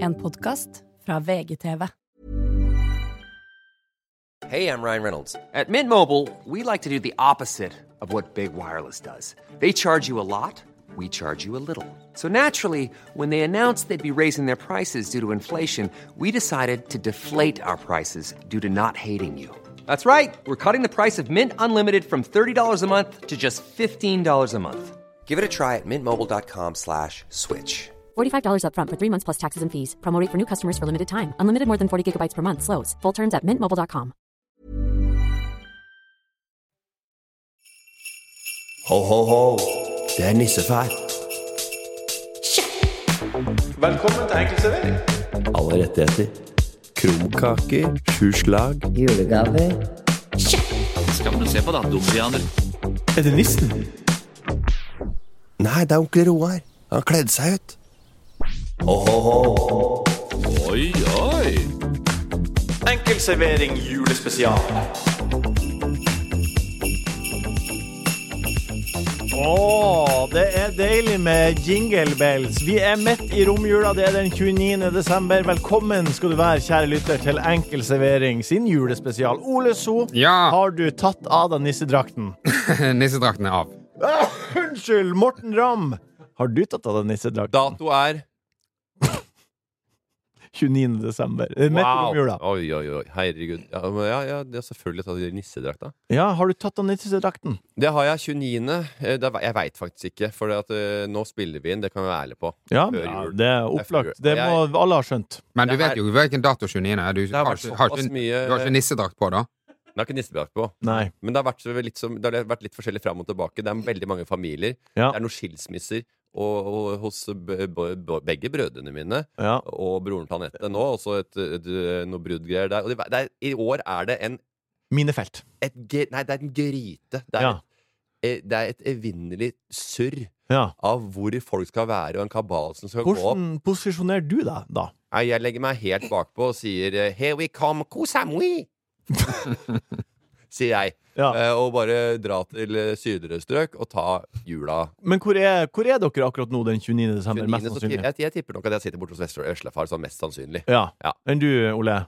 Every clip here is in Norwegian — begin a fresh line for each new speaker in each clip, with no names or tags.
En podkast fra VGTV.
Hey, I'm Ryan Reynolds. At Mint Mobile, we like to do the opposite of what Big Wireless does. They charge you a lot, we charge you a little. So naturally, when they announced they'd be raising their prices due to inflation, we decided to deflate our prices due to not hating you. That's right. We're cutting the price of Mint Unlimited from $30 a month to just $15 a month. Give it a try at mintmobile.com slash switch.
$45 upfront for three months plus taxes and fees. Promo rate for new customers for limited time. Unlimited more than 40 gigabytes per month. Slows. Full terms at mintmobile.com.
Ho, ho, ho. Det er nissefær.
Velkommen til Enkeltservering.
Alle rettigheter. Krumkaker, sju slag.
Er det nissen?
Nei, det er onkel Roar. Han kledde seg ut. Ho, ho, ho.
Enkeltservering julespesial.
Åh, det er deilig med jingle bells. Vi er midt i romjula, det er den 29. desember. Velkommen skal du være, kjære lytter, til Enkel servering sin julespesial. Ole So,
Ja.
har du tatt av deg nissedrakten? Ah,
Nissedrakten er av.
Unnskyld, Morten Ramm, har du tatt av deg nissedrakten?
Dato er
29. desember. Det er Midt i romjula.
Oi, oi, oi. Herregud. Ja, men ja, ja det er selvfølgelig tatt i nissedrakta.
Ja, har du tatt av nissedrakten?
Det har jeg 29. Eh, det er- Jeg veit faktisk ikke, for det at, eh, nå spiller vi inn. Det kan vi være ærlig på.
Ja,
Før
ja,
jul.
det er opplagt.
før
Det
jul.
må alle ha skjønt.
Men du
Det her-
vet jo hvilken dato 29 er. Du
Det har
har,
vært
ikke- har,
såpass
ikke,
mye-
du har ikke nissedrakt på, da?
Det har ikke nissedrakt på.
Nei.
Men det har vært litt, som, det har vært litt forskjellig fram og tilbake. Det er veldig mange familier.
Ja.
Det er noen skilsmisser. Og, og hos b b b begge brødrene mine
Ja.
og broren til Anette nå. Også et, et, eh, noe bruddgreier der. Og det, det er, I år er det en
Minefelt.
et, ge- Nei, det er en gryte. Det er,
Ja.
et, eh, det er et evinnelig surr.
Ja.
av hvor folk skal være, og en kabal som skal gå opp.
Hvordan posisjonerer du deg da?
Nei, jeg legger meg helt bakpå og sier eh, 'Here we come, Kosamui', sier jeg.
Ja.
Eh, Og bare dra til eh, sydere strøk og ta jula.
Men hvor er, hvor er dere akkurat nå den 29. desember?
29.
Mest
Så ti-
sannsynlig.
jeg, jeg tipper nok at jeg sitter borte hos Vestre Øslefar, sånn mest sannsynlig.
Ja.
Ja.
Enn du, Ole?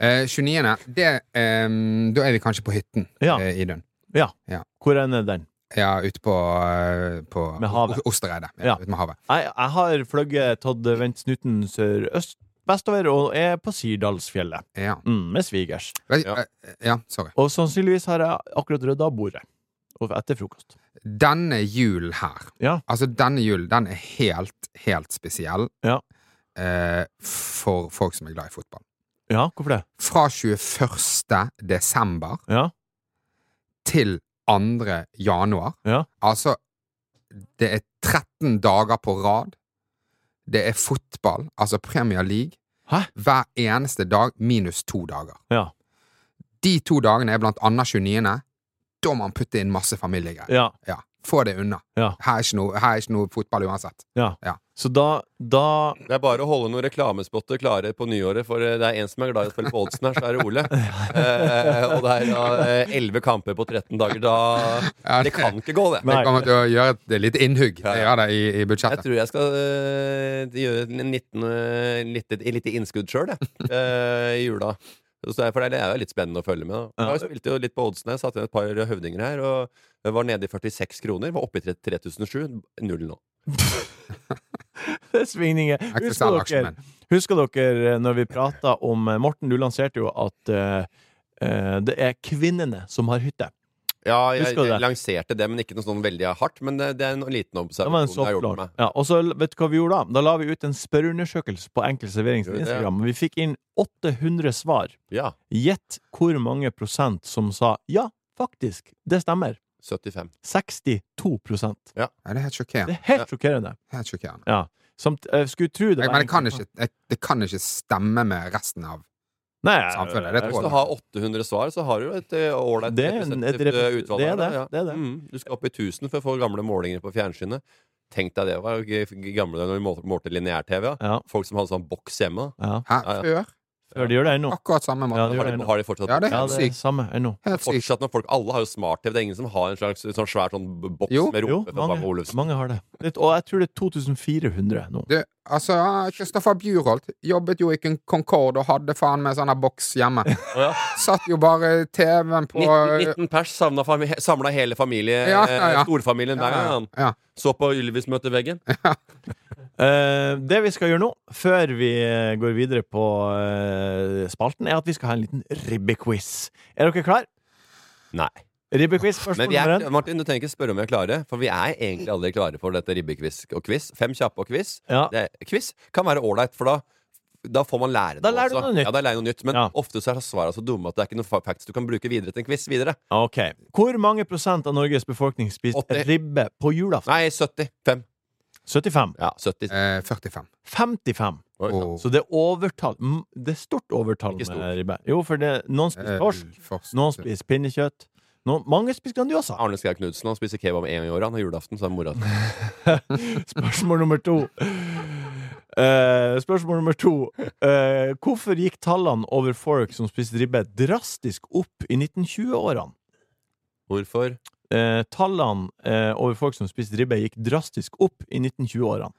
Eh, 29. Det, ehm, da er vi kanskje på hytten
Ja.
eh, i Dønn.
Ja.
Ja.
Hvor enn er den?
Ja, ute på, eh, på
Med havet.
O- Ostereidet. Ja,
Ja.
Ute med havet.
Jeg, jeg har fløyet tatt vendt snuten sørøst vestover og er på Sirdalsfjellet
Ja.
mm, med svigers.
Vet-
Ja.
eh, ja, sorry.
Og sannsynligvis har jeg akkurat rydda av bordet og etter frokost.
Denne julen her
Ja.
Altså, denne julen, den er helt, helt spesiell
Ja.
eh, for folk som er glad i fotball.
Ja, hvorfor det?
Fra 21. desember
Ja,
til 2. januar.
Ja.
Altså, det er 13 dager på rad. Det er fotball, altså Premier League,
Hæ?
hver eneste dag minus to dager.
ja,
De to dagene er blant annet 29. Da må man putte inn masse familiegreier.
ja.
Ja. Få det unna.
Ja.
Her, er ikke noe, her er ikke noe fotball uansett.
Så da, da
Det er bare å holde noen reklamespotter klare på nyåret, for eh, det er en som er glad i å spille på oddsen her, så er det Ole. Eh, og det er da elleve kamper på 13 dager. Da Det kan ikke gå, det.
Jeg
Nei.
kommer til å gjøre et lite innhugg Jeg gjør det i, i
Jeg
budsjettet.
tror jeg skal øh, gjøre en liten, øh, litt, et lite innskudd sjøl, jeg. øh, I jula. Så det er- For det er jo litt spennende å følge med. Da.
Ja.
Jeg spilte jo litt på oddsene, satte inn et par høvdinger her, og jeg var nede i 46 kroner. Var oppe i 3007. Null nå.
Det er svingninger.
Jeg skal
Husker
selge
dere,
aksjen min.
husker dere eh, når vi prata om eh, Morten, du lanserte jo at eh, eh, det er kvinnene som har hytte.
Ja, jeg,
jeg- Husker du det?
lanserte det, men ikke noe sånn veldig hardt. Men det, er en liten
Det var en
observasjon jeg har gjort
softlaw. Ja, og så vet du hva vi gjorde da? Da la vi ut en spørreundersøkelse på Enkel servering
Gjorde
sin
det, ja.
Instagram. og Vi fikk inn 800 svar. Gjett hvor mange prosent som sa ja, faktisk, det stemmer.
75.
62 prosent.
Ja, det er helt
Det
sjokkerende.
er helt sjokkerende.
Helt sjokkerende.
Samt, jeg skulle tro det
Jeg,
var
men det kan,
enkelt.
ikke, jeg, det kan ikke stemme med resten av
Nei, eh, jeg-
samfunnet, det tror
Hvis du
jeg.
har 800 svar, så har du jo et øh, ålreit
Det er en- et
representativt, øh,
repre-
utvalg.
det er
her, da,
det, det er det.
Mm, du skal opp i 1000 for å få gamle målinger på fjernsynet. Tenk deg det. Det var jo ikke gamle dager når vi målte- målte lineær-TV. Ja.
Ja,
Folk som hadde sånn boks hjemme. da.
ja.
Hæ?
Ja, ja.
Før?
Før de gjør det ennå.
Akkurat samme
Ja, det
måte.
gjør
Har
det
de,
ennå.
har de fortsatt
Ja, det er
Ja,
helt
det er
sykt.
samme ennå.
Helt sykt.
Fortsatt når folk, Alle har jo smart-TV. Det er ingen som har en slags sånn svær sånn b- boks
Jo.
med
Jo,
rumpe på Bang
mange,
Olufsen.
mange har det. Det- Og jeg tror det er 2400 nå.
Du, altså, Kristoffer Bjurholt jobbet jo i Con- Concorde og hadde faen meg sånn her boks hjemme.
Ja.
Satt jo bare TV-en på eh,
19, 19 pers samla, fami samla hele familie,
Ja, ja, ja.
eh, storfamilien hver gang. han.
Ja.
Så på Ylvis møter veggen.
Eh, det vi skal gjøre nå, før vi eh, går videre på eh, spalten, er at vi skal ha en liten ribbequiz. Er dere klar?
Nei.
Ribbequiz,
Men
spørsmål
vi
nummer
er,
én.
Martin, du trenger ikke spørre om vi er klare, for vi er egentlig aldri klare for dette ribbekviss og quiz. Fem kjappe og quiz.
Ja.
Det, quiz kan være ålreit, for da da får man lære
Da
noe.
lærer du
også.
noe nytt.
Ja, da lærer du noe nytt Men
Ja.
ofte så er svarene så dumme at det er ikke noen fa- facts du kan bruke videre til en quiz. videre
Ok. Hvor mange prosent av Norges befolkning spiser
80.
ribbe på julaften?
Nei, 75.
75.
Ja, 70.
Eh, 45.
55.
Oi, sant.
Og
Så det er overtall. Mm, Det er stort overtall
Ikke stort. Eh,
med ribbe. Jo, for det, noen spiser torsk,
Forst.
noen spiser pinnekjøtt. Noen, mange spiser Grandiosa.
Arne Skau Knudsen han spiser kebab en gang i året. Han har julaften, så er mora si
Spørsmål nummer to. Eh, spørsmål nummer to. Eh, hvorfor gikk tallene over folk som spiste ribbe, drastisk opp i 1920-årene?
Hvorfor?
Eh, tallene eh, over folk som spiste ribbe, gikk drastisk opp i 1920-årene.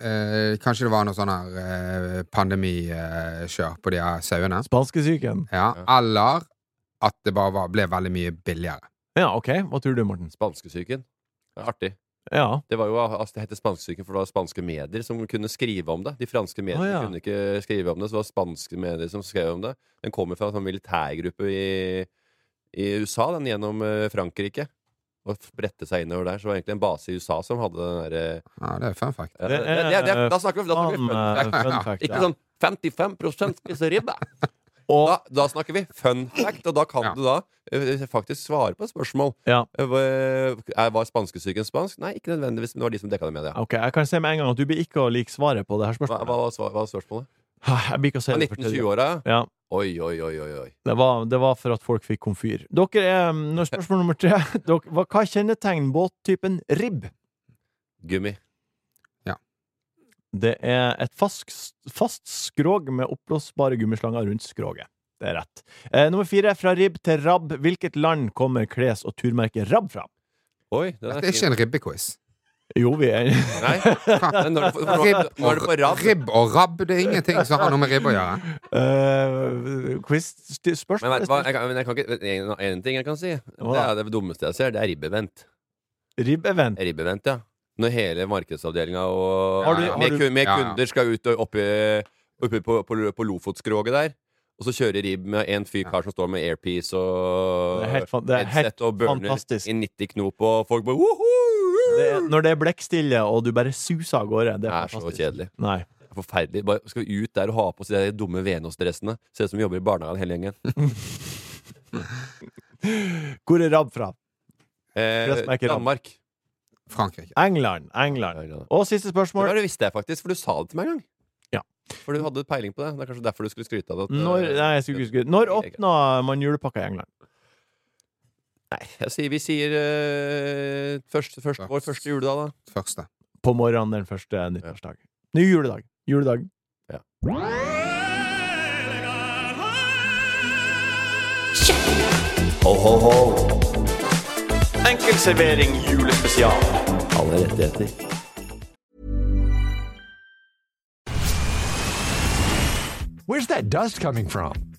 Eh, kanskje det var noe sånn her eh, pandemikjør på de her sauene.
Spanskesyken.
Ja. Eller at det bare var, ble veldig mye billigere.
Ja, OK. Hva tror du, Morten?
Spanskesyken. Det er artig.
Ja.
Det var jo altså, det heter spanskesyken, for det var spanske medier som kunne skrive om det. De franske mediene
Å, ja.
kunne ikke skrive om det, så det var spanske medier som skrev om det. Den kommer fra en sånn militærgruppe i, i USA, den gjennom eh, Frankrike. Og spredte seg innover der. Så det var egentlig en base i USA som hadde den derre
Ja, det er fun fact.
ja,
Det
det, det, det,
er,
Da snakker vi, da snakker vi fun
Faen, eh,
fact.
fun fact,
Ikke
ja.
sånn 55 spiser ribbe.
Og,
Da, da snakker vi fun fact, og da kan
Ja.
du da eh, faktisk svare på et spørsmål.
ja.
Eh, Var var spanskesyken spansk? Nei, ikke nødvendigvis, men det var de som dekka det i media.
OK, jeg kan se med en gang at du blir ikke å like svaret på det her
Hva, hva,
spørsmålet.
var svar- hva var spørsmålet?
Jeg blir ikke å se
Ja,
det for tredje gang.
1920-åra?
Ja.
Oi, oi, oi, oi. oi.
Det var, det var for at folk fikk komfyr. Dere er mm, nå er Spørsmål nummer tre. Dere, hva, hva kjennetegner båttypen ribb?
Gummi.
Det er et fast, fast skrog med oppblåsbare gummislanger rundt skroget. Det er rett. Eh, nummer fire. Fra ribb til rabb. Hvilket land kommer kles- og turmerket rabb fra?
Oi, den
Dette er ikke en ribbequiz.
Jo, vi er
Nei. Men Nå er det på- nå er det på- nå er det på rabb.
ribb og rabb, det er ingenting som har noe med ribb å gjøre.
eh, Quiz st-
Men vet
spørsmål
du hva, jeg kan, men jeg kan ikke en, en ting jeg kan si, det
Hva da?
er det dummeste jeg ser, det er ribbevent.
Ribb-event.
Ribbevent, ja. Når hele markedsavdelinga og
Har du- har
med,
du-
kun- med
Ja, ja.
kunder skal ut og oppe, oppe på, på, på Lofotskroget der, og så kjører ribb med en fyr kar som står med airpiece og
Det er helt fan- det er helt
headset og burner
fantastisk.
i 90 knop, og folk bare woho!
Det er, når det er blekkstille, og du bare suser av gårde. Det er,
Det er så
fantastisk.
kjedelig.
Nei.
Forferdelig. Bare skal vi ut der og ha på oss de der dumme Venås-dressene. Ser ut som vi jobber i barnehagen hele gjengen. Eh,
Hvor er rabb fra?
Eh,
Dressmerker, da.
Danmark.
Frankrike.
England. England.
England.
Og siste
Det
spørsmål.
var det visste jeg faktisk, for du sa det til meg en gang.
Ja.
For du hadde peiling på det. Det er kanskje derfor du skulle skryte av det. at,
Når,
eh,
nei, jeg skulle ikke skryte. Når åpna man julepakka i England?
Nei, jeg sier, vi sier eh, først, først, vår første juledag, da.
Første.
På morgenen den første nyttårsdag. Ny juledag. Juledag.
Ja.
Enkel servering julespesial.
Alle rettigheter.
Where's that dust coming from?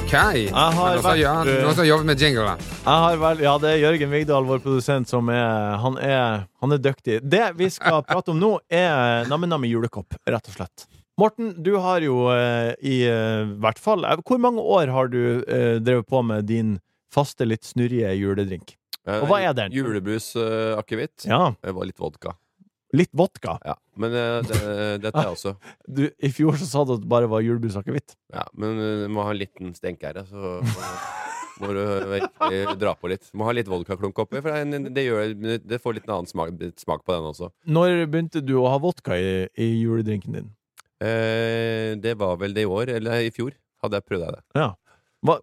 OK. Jeg
har vært, eh,
Noen som har jobbet med jinglen.
Jeg har vel, ja, det er Jørgen Vigdal, vår produsent, som er Han er, han er dyktig. Det vi skal prate om nå, er Namme-Namme julekopp, rett og slett. Morten, du har jo eh, i eh, hvert fall eh, Hvor mange år har du eh, drevet på med din faste, litt snurrige juledrink?
Eh,
Og hva er den?
Julebrus eh, akevitt.
Ja,
Det var litt vodka.
litt vodka.
Ja. Men eh, det, dette er også
Du, I fjor så sa du at det bare var julebrus akevitt.
Ja, men eh, du må ha en liten stenkeære, så må- må du eh, virkelig dra på litt. Du må ha litt vodkaklunk oppi, for det, er en- det, gjør, det får litt annen smak, smak på den også.
Når begynte du å ha vodka i, i juledrinken din?
Eh, det var vel det i år, eller i fjor, hadde jeg prøvd det.
Ja. Hva,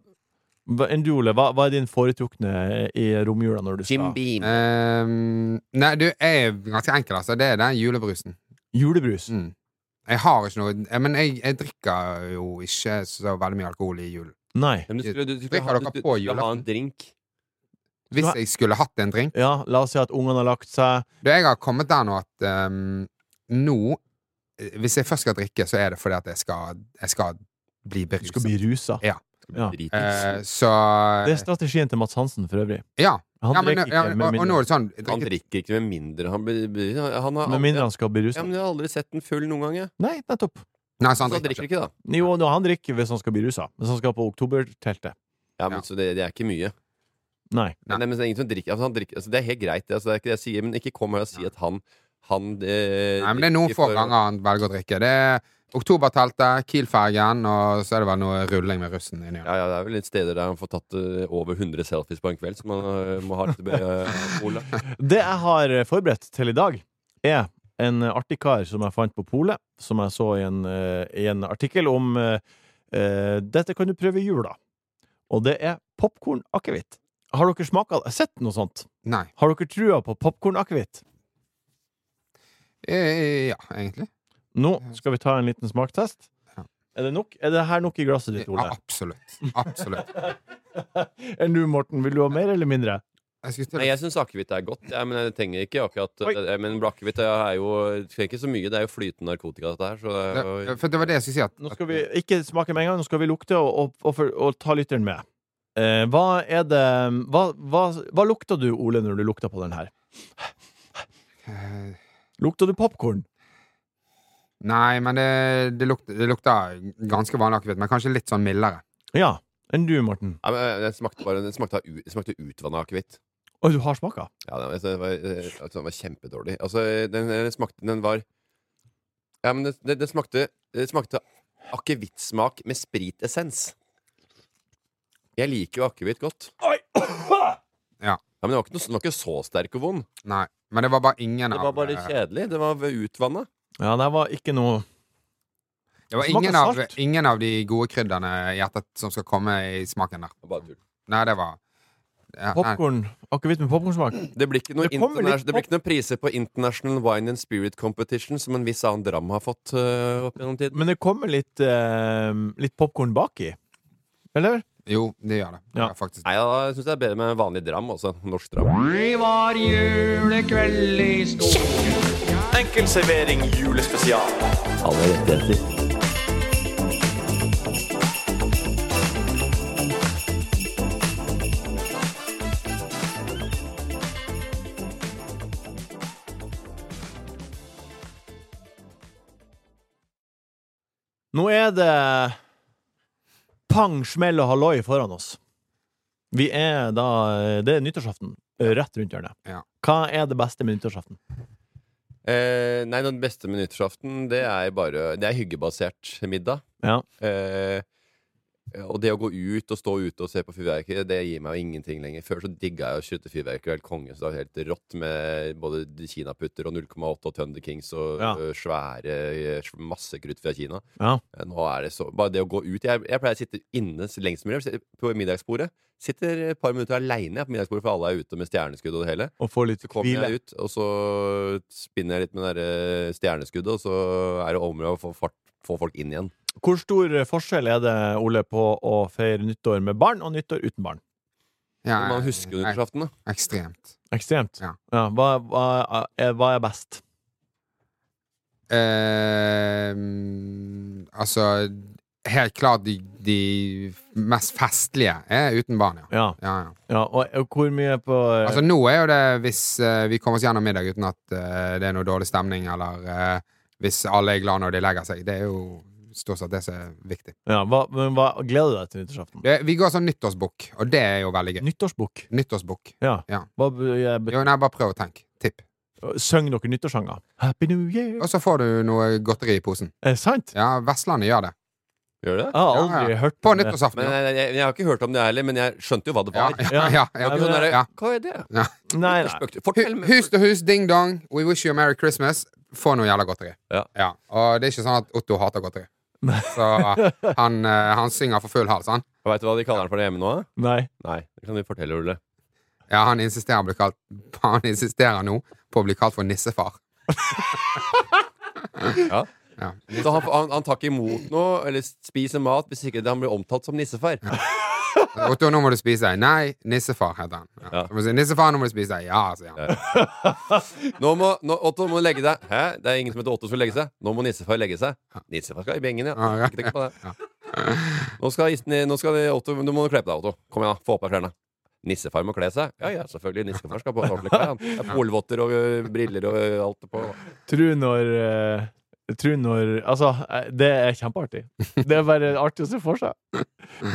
hva, enn du, Ole, hva, hva er din foretrukne eh, i romjula når du skal
Beam.
Ehm, nei, du er ganske enkel, altså. Det er den julebrusen.
Julebrus.
Mm. Jeg har ikke noe jeg, Men jeg, jeg drikker jo ikke så veldig mye alkohol i julen.
Nei.
Men du skulle, du, du, skulle
Drikker
ha,
dere
du, du, du
på
skulle ha en drink.
Hvis jeg skulle hatt en drink
Ja, la oss si at ungene har lagt seg.
Du, jeg har kommet der nå at ehm, nå eh, Hvis jeg først skal drikke, så er det fordi at jeg skal, jeg skal bli
Du
beruset.
skal bli rusa.
Ja.
Ja.
Drit.
Eh, så
Det er strategien til Mats Hansen for øvrig.
Ja.
Han
ja, men,
drikker ikke
ja
med
og, og nå
mindre,
er det sånn
Han
drikke,
drikker ikke med mindre. Han, blir- blir- han har
med mindre han skal bli
ja,
rusa.
men Jeg har aldri sett den full noen gang. Jeg.
Nei, nettopp.
Nei, så
Så
han
han
drikker
drikker
ikke.
ikke, da.
Jo, nå, han drikker hvis han skal bli rusa. Hvis han skal på oktoberteltet.
Ja, men,
Ja.
Så det, det er ikke mye.
Nei.
Nei.
Nei, men det er ingen som drikker, altså, han drikker altså, Det er helt greit, det, altså, det er ikke det jeg sier, men ikke kom her og si at han, han eh,
Nei, men det er noen
drikker
få
for-
ganger han velger å drikke. Det er Oktoberteltet, Kiel-fergen, og så er det vel noe rulling med russen inni
Ja, ja, Det er vel litt steder der han får tatt eh, over 100 selfies på en kveld, så man eh, må ha litt be- eh, alkohol. da.
Det jeg har forberedt til i dag, er en artig kar som jeg fant på polet, som jeg så i en, eh, i en artikkel om eh, eh, Dette kan du prøve i jula. Og det er popkornakevitt. Har dere smaka Sett noe sånt?
Nei.
Har dere trua på popkornakevitt?
Eh, Ja, egentlig.
Nå skal vi ta en liten smaktest.
Ja.
Er det nok? Er det her nok i glasset ditt,
Ja,
Ole?
absolutt. Absolutt.
Enn du, Morten? Vil du ha mer eller mindre?
Jeg skulle til
Nei, jeg syns akevitt er godt, ja, men jeg trenger ikke akkurat
Oi.
eh, Men akevitt er jo det trenger ikke så mye. Det er jo flytende narkotika, dette her, så det er
det,
jo
For det var det jeg skulle si. At,
Nå skal vi ikke smake med en gang, nå skal vi lukte og, og, og, for- og ta lytteren med. Eh, hva er det hva, hva, hva lukta du, Ole, når du lukta på den her?
Eh,
Lukta du popkorn?
Nei, men det, det, lukter, det lukter ganske vanlig akevitt, men kanskje litt sånn mildere.
Ja. Enn du, Morten?
Nei, men Den smakte bare Den smakte, av u- den smakte utvanna akevitt.
Oi, du har smaka?
Ja, den, altså, den, var, eh, altså, den var kjempedårlig. Altså, den, den smakte Den var Ja, men det, det, det smakte Det smakte akevittsmak med spritessens. Jeg liker jo akevitt godt.
Ja.
men den var, ikke noe, den var ikke så sterk og vond.
Nei, men det var bare ingen
Det
av eh,
var bare kjedelig. Den var utvanna.
Ja, det var ikke noe
Det var
Smaker
ingen av,
salt.
ingen av de gode krydderne i hjertet som skal komme i smaken der. Nei, det var ja, nei.
popkorn. Akevitt med popkornsmak.
Det blir ikke noe,
Det kommer
interna-
litt
det blir ikke noen priser på International Wine and Spirit Competition, som en viss annen dram har fått øh, opp gjennom tiden.
Men det kommer litt, eh, litt popkorn baki. Eller?
Jo, det gjør det. det
Ja.
gjør faktisk.
Nei, ja, jeg syns det er bedre med en vanlig dram også. Norsk dram.
Enkel servering julespesial. Nå er det pang, smell og halloi foran oss. Vi er da eh, Det er nyttårsaften. eh, Rett rundt hjørnet.
Ja.
Hva er det beste med nyttårsaften?
Eh, nei, den beste med nyttårsaften, det er bare Det er hyggebasert middag.
Ja.
Eh, og det å gå ut og stå ute og se på fyrverkeri, det gir meg jo ingenting lenger. Før så digga jeg å skyte fyrverkeri helt konge, så det var helt rått med både kinaputter og 0,8 og Thunder Kings og
Ja.
eh, svære eh, sv- masse krutt fra Kina.
Ja.
Eh, Nå er det så Bare det å gå ut Jeg, jeg pleier å sitte inne så lengst mulig jeg på middagsbordet. Sitter et par minutter aleine på middagsbordet, for alle er ute med stjerneskudd og det hele.
Og få litt
Så kommer
hvile.
jeg ut, og så spinner jeg litt med det der, eh, stjerneskuddet, og så er det om å gjøre å få, fart, få folk inn igjen.
Hvor stor eh, forskjell er det, Ole, på å feire nyttår med barn og nyttår uten barn?
Ja,
Men man husker jo
ek-
nyttårsaften, da.
Ekstremt.
Ekstremt.
Ja.
eh, hva, hva, er, hva er best?
Eh, altså Helt klart de, de mest festlige er uten barn, ja.
Ja.
ja, ja.
ja og, og hvor mye på eh,
Altså Nå er jo det hvis eh, vi kommer oss gjennom middag uten at eh, det er noe dårlig stemning, eller eh, hvis alle er glad når de legger seg. Det er jo stort sett det som er viktig.
ja, hva, men hva gleder du deg til nyttårsaften?
Det, vi går sånn nyttårsbukk, og det er jo veldig gøy.
Nyttårsbukk.
Nyttårsbukk.
Ja.
Ja.
Hva, b- jeg, bet-
Jo, nei, bare prøv å tenke. Tipp.
Søng dere nyttårssanger? Happy New Year!
Og så får du noe godteri i posen.
Er det sant?
Ja, Vestlandet gjør det.
Gjør det?
Jeg har
Ja,
aldri
ja.
hørt
På
om det.
nyttårsaften.
Men
ja.
jeg, jeg, jeg har ikke hørt om det heller, men jeg skjønte jo hva det
Ja,
var.
ja, ja,
Og
ja,
den der,
ja.
Hva er det?
ja.
Nei, nei.
Spøkte- Fortell
Hu-
meg-
Hus til hus, ding dong, we wish you a merry Christmas. Få noe jævla godteri.
Ja.
Og det er ikke sånn at Otto hater godteri. Så han, eh, han synger for full hals, han.
Vet du hva de kaller den for det hjemme nå? da?
nei.
Nei, det kan du fortelle, Ulle.
Ja, han insisterer, å bli kalt, han insisterer nå på å bli kalt for nissefar.
Ja.
Ja.
Så han, han, han tar ikke imot noe eller spiser mat hvis ikke han blir omtalt som nissefar.
Otto, nå må du spise. Nei, nissefar heter han. Ja.
Ja.
Så må du si, Nissefar, nå må du spise. Ja, sier han.
Nå må, nå, Otto må legge deg. Hæ? Det er ingen som heter Otto som vil legge seg. Nå må nissefar legge seg. Nissefar skal i bengen, ja.
Ja, ja.
Ikke tenk på det. Nå skal, isen- nå skal Otto Du må kle på deg, Otto. Kom igjen, da. Få på deg klærne. Nissefar må kle seg. Ja ja, selvfølgelig. Nissefar skal på ordentlig klær. han. Det er Polvotter og ø, briller og ø, alt på.
Tru når eh, Tru når Altså, eh, det er kjempeartig. Det er bare artig å se for seg.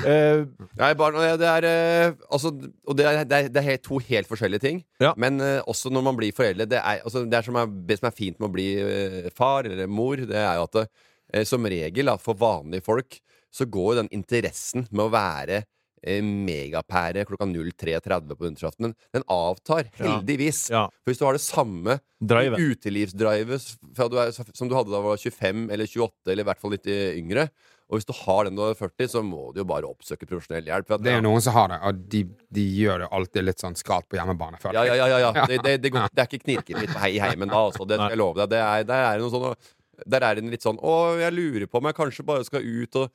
Eh,
Nei, barn, og det er, eh, altså, og det er, det er, det er helt, to helt forskjellige ting.
Ja.
Men eh, også når man blir foreldre Det, er, altså, det, er som er, det som er fint med å bli eh, far eller mor, det er jo at eh, som regel da, for vanlige folk så går jo den interessen med å være eh, megapære klokka 03.30 på nyttårsaften, den avtar heldigvis.
Ja.
For hvis du har det samme
Drivet.
utelivsdrivet s- fra du er, som du hadde da du var 25 eller 28, eller i hvert fall litt eh, yngre Og hvis du har den når du er 40, så må du jo bare oppsøke profesjonell hjelp. for at-
Det er jo noen som har det, og de, de gjør det alltid litt sånn skralt på hjemmebane. føler
ja,
jeg.
ja, ja, ja. Det, det, det, går, det er ikke knirkefritt hei i heimen da, altså. Det skal jeg love deg. Det er, der er det noe sånn der er den litt sånn 'Å, jeg lurer på om jeg kanskje bare skal ut og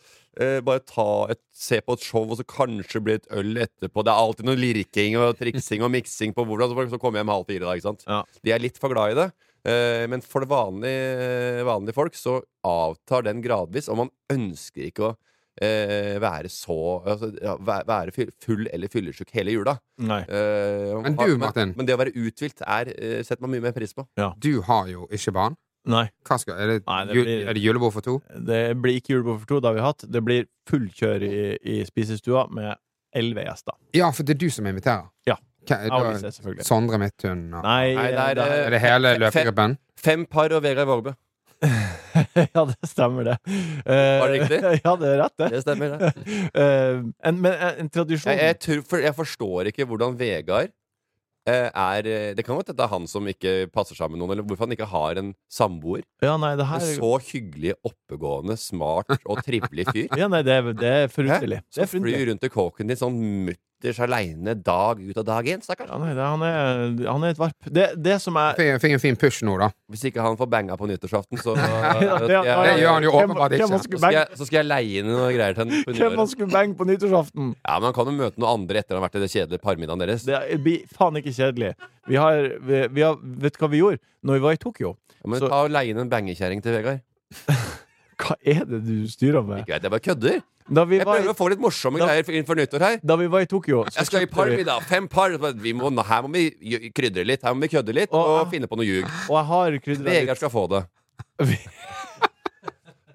eh, bare ta et, se på et show, og så kanskje bli et øl etterpå.' Det er alltid noe lirking og triksing og miksing på hvordan så folk skal komme hjem halv fire. da, ikke sant?
Ja.
De er litt for glad i det. Eh, men for det vanlige, vanlige folk så avtar den gradvis, og man ønsker ikke å eh, være så altså, ja, væ- Være fyll- full eller fyllesyk hele jula.
Nei.
Eh,
Men
ha-
du, Martin?
Men, det å være uthvilt er, eh, setter man mye mer pris på.
Du har jo ikke barn.
Nei.
Hva skal, er, det,
Nei, det
ju-
blir-
er det julebord for to?
Det blir ikke julebord for to, det har vi hatt. Det blir full kjør i, i spisestua med elleve gjester.
Ja, for det er du som inviterer.
Ja.
Hva, er
Av
da-
disse, selvfølgelig.
Sondre Midthun og
Nei,
Nei, det er,
det
eh,
Er det hele
fe-
løpegruppen?
Fem par og Vegard Vårbø.
Ja, det stemmer, det. Eh,
Var det riktig?
Ja, det er rett, det.
Det stemmer, det.
Eh, en, men en, en tradisjon
Jeg, jeg, tror, for jeg forstår ikke hvordan Vegard eh, er eh, Det kan godt hende det er han som ikke passer sammen med noen, eller hvorfor han ikke har en samboer.
Ja, nei, det
En
her
så hyggelig, oppegående, smart og trivelig fyr.
ja, nei, det, er- det er forunderlig.
Hæ? Så flyr rundt i kåken din sånn mutters aleine dag ut og dag inn, stakkars.
Ja, nei, det, han, er, han er et varp. Det, det som er
Fikk, fikk en fin push nå, da.
Hvis ikke han får banga på nyttårsaften, så,
Det gjør han jo
Hvem-
åpenbart ikke.
Hvem han
så,
skulle
skal
bange,
jeg, så skal jeg leie inn noen greier til henne. på
hvem han
nyåret.
skulle bange på nyttårsaften?
Ja, men Han kan jo møte noen andre etter han har vært i det kjedelige parmiddagen deres.
Det er- blir faen ikke kjedelig. Vi har, vi, vi har Vet du hva vi gjorde når vi var i Tokyo?
Ja, men
så-
Ta og Leie inn en bangekjerring til Vegard.
Hva er det du styrer med?
Ikke vet, Jeg bare kødder.
Da vi
Jeg
var,
prøver
i-
å få litt morsomme
Da-
greier innenfor nyttår her.
da vi var i Tokyo, så
Jeg skal i
kjøpte
par,
vi
vi da. Fem par. Vi må, nå- her må vi gjø- krydre litt, her må vi kødde litt
Å, ah. ja.
og finne på noe ljug.
Og jeg har krydret
Vegard skal få det.
litt.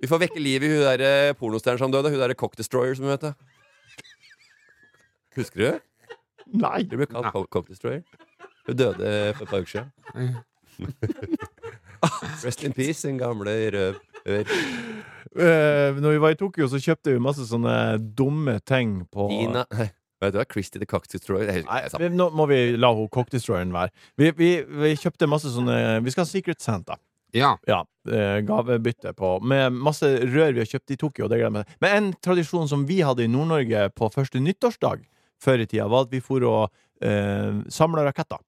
Vi får vekke livet i hun der eh, pornostjernen som døde. Hun derre Cock Destroyer som hun heter. Husker du?
Nei!
Du ble kalt Cock- Cock Destroyer. Hun døde eh, for et par uker siden. Rest in peace, den gamle røver.
Eh, når vi var i Tokyo, så kjøpte vi masse sånne dumme ting på
Ina Vet du hva? Christy the Cock Destroyer. Det er helt-
Nei,
jeg sa-
vi, nå må vi la hun Cock Destroyeren være. Vi, vi, vi kjøpte masse sånne Vi skal ha Secret Santa.
Ja.
Ja, eh, gavebytte på Med masse rør vi har kjøpt i Tokyo det glemmer jeg. Men en tradisjon som vi hadde i Nord-Norge På første nyttårsdag Før i tida var at vi for å eh, Samle raketter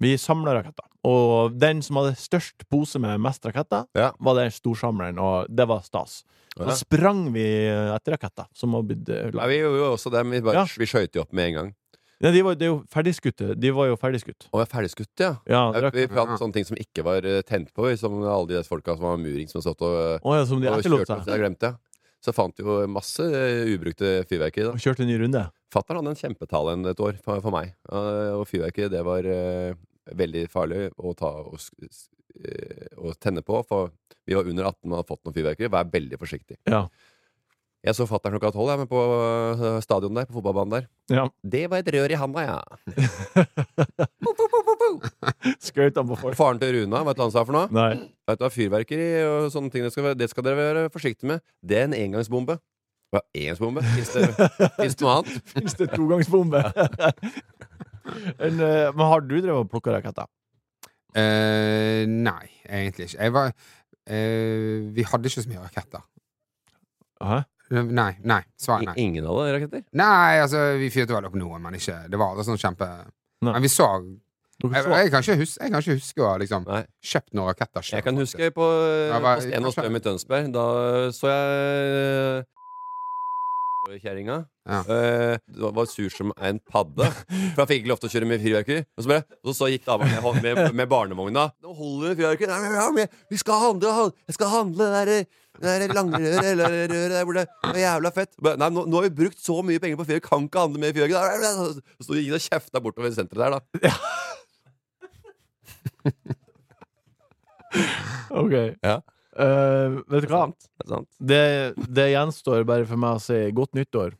Vi samlet raketter Og den som hadde størst pose med mest raketter
Ja.
Var den storsamleren Og det var stas
Ja.
Så sprang vi etter raketter Som hadde blitt eh,
Nei,
lagt
vi gjorde jo også det, men vi, bare,
Ja.
vi skjøt jo opp med en gang.
Nei, de var, det er jo ferdigskutte. De var jo ferdigskutt.
Å, jeg er ferdigskutt, ja.
Ja,
Ja,
drakk-
Vi pratet om sånne ting som ikke var eh, tent på, som alle de der folka som var muring som har stått og, eh,
Å, ja, som de
og
etterlot
kjørt
seg.
opp, jeg glemte, ja. Så fant vi jo masse eh, ubrukte fyrverkeri.
og
da.
kjørte en ny runde.
Fatter'n hadde en kjempetale en- et år for, for meg, Eh, og fyrverkeri det var eh, veldig farlig å ta og, sk- s- eh, og tenne på, for vi var under 18 og hadde fått noen fyrverkeri. Vær veldig forsiktig.
Ja.
Jeg så fatter'n klokka tolv, jeg, men på eh, stadion der, på fotballbanen der.
ja.
Det var et rør i handa, ja.
Skjøt han på
Og
folk.
faren til Runa, vet du hva han sa for noe?
Nei.
Vet du hva, fyrverkeri og sånne ting, det skal, være- det skal dere være forsiktige med. Det er en engangsbombe. Hva, engangsbombe? Fins det, finnes det noe annet?
Fins det togangsbombe? Men, eh, men har du drevet og plukka raketter?
Eh, nei, egentlig ikke. Jeg var eh, Vi hadde ikke så mye raketter.
Hæ?
Nei, nei. Svaret er nei.
Ingen av det, raketter?
Nei, altså, vi fyrte vel opp noen, men ikke Det var aldri sånn kjempe
Nei.
Men vi så
Dere
Jeg,
så
jeg, kan, ikke huske, jeg kan ikke huske å ha liksom,
Nei.
kjøpt noen raketter selv,
Jeg kan
faktisk.
huske på, eh,
Ja,
på
hva-
Sten og
kanskje-
Strøm i Tønsberg. Da så jeg eh, Kjerringa.
Ja.
Eh, det var sur som en padde. For han fikk ikke lov til å kjøre med fyrverkeri. Og så, bare, og så gikk dama med, med, med barnevogna. Nå holder du med fyrverkeri. Nei, nei, nei, men Vi skal handle, han- jeg skal handle det derre det der langrøret eller det røret der borte. Det er jævla fett. Bare, Nei, nå, nå har vi brukt så mye penger på fyrverkeri, kan ikke handle mer fyrverkeri. Så sto ingen og kjefta bortover senteret der, da.
OK.
Ja.
Eh, vet du hva?
Det er sant.
Det, det gjenstår bare for meg å si godt nyttår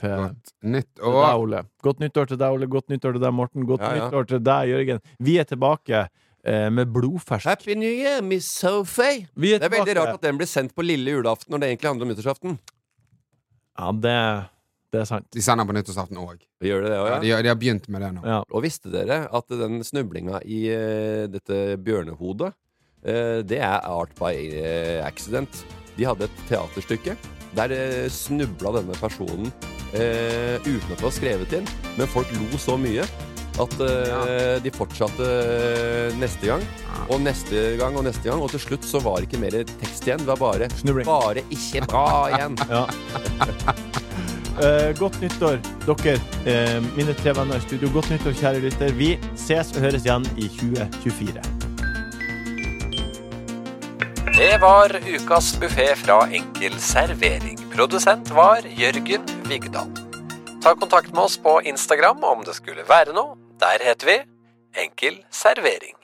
til
Godt nytt
til deg,
år.
Ole. Godt nyttår til deg, Ole. Godt nyttår til deg, Morten. Godt
Ja, ja.
nyttår til deg, Jørgen. Vi er tilbake eh, med blodfersk
Happy New Year, Miss Sophie.
Vi
Det er veldig rart at den blir sendt på lille julaften når det egentlig handler om nyttårsaften.
Ja, det, det er sant.
De sender på nyttårsaften òg.
Vi gjør det, det
Ja,
også,
de,
ja.
de har begynt med det nå.
Ja.
Og visste dere at den snublinga i eh, dette bjørnehodet, eh, det er art by eh, accident. De hadde et teaterstykke. Der eh, snubla denne personen eh, uten at det var skrevet inn. Men folk lo så mye at eh, de fortsatte eh, neste gang og neste gang og neste gang. Og til slutt så var det ikke mer tekst igjen. Det var bare
Snubling.
Bare ikke bra igjen.
Ja. Eh, godt nyttår, dere, eh, mine tre venner i studio. Godt nyttår, kjære lytter. Vi ses og høres igjen i 2024.
Det var ukas buffé fra Enkel servering. Produsent var Jørgen Vigdal. Ta kontakt med oss på Instagram om det skulle være noe. Der heter vi Enkel servering.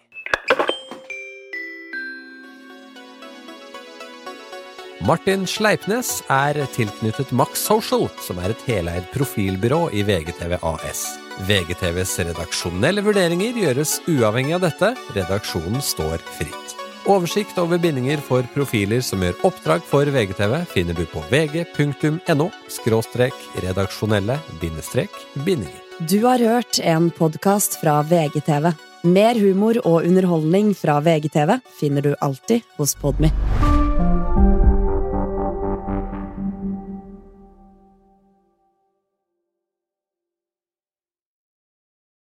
Martin Sleipnes er tilknyttet Max Social, som er et heleid profilbyrå i VGTV AS. VGTVs redaksjonelle vurderinger gjøres uavhengig av dette. Redaksjonen står fritt. Oversikt over bindinger for profiler som gjør oppdrag for VGTV, finner du på vg.no redaksjonelle bindinger.
Du har hørt en podkast fra VGTV. Mer humor og underholdning fra VGTV finner du alltid hos Podmy.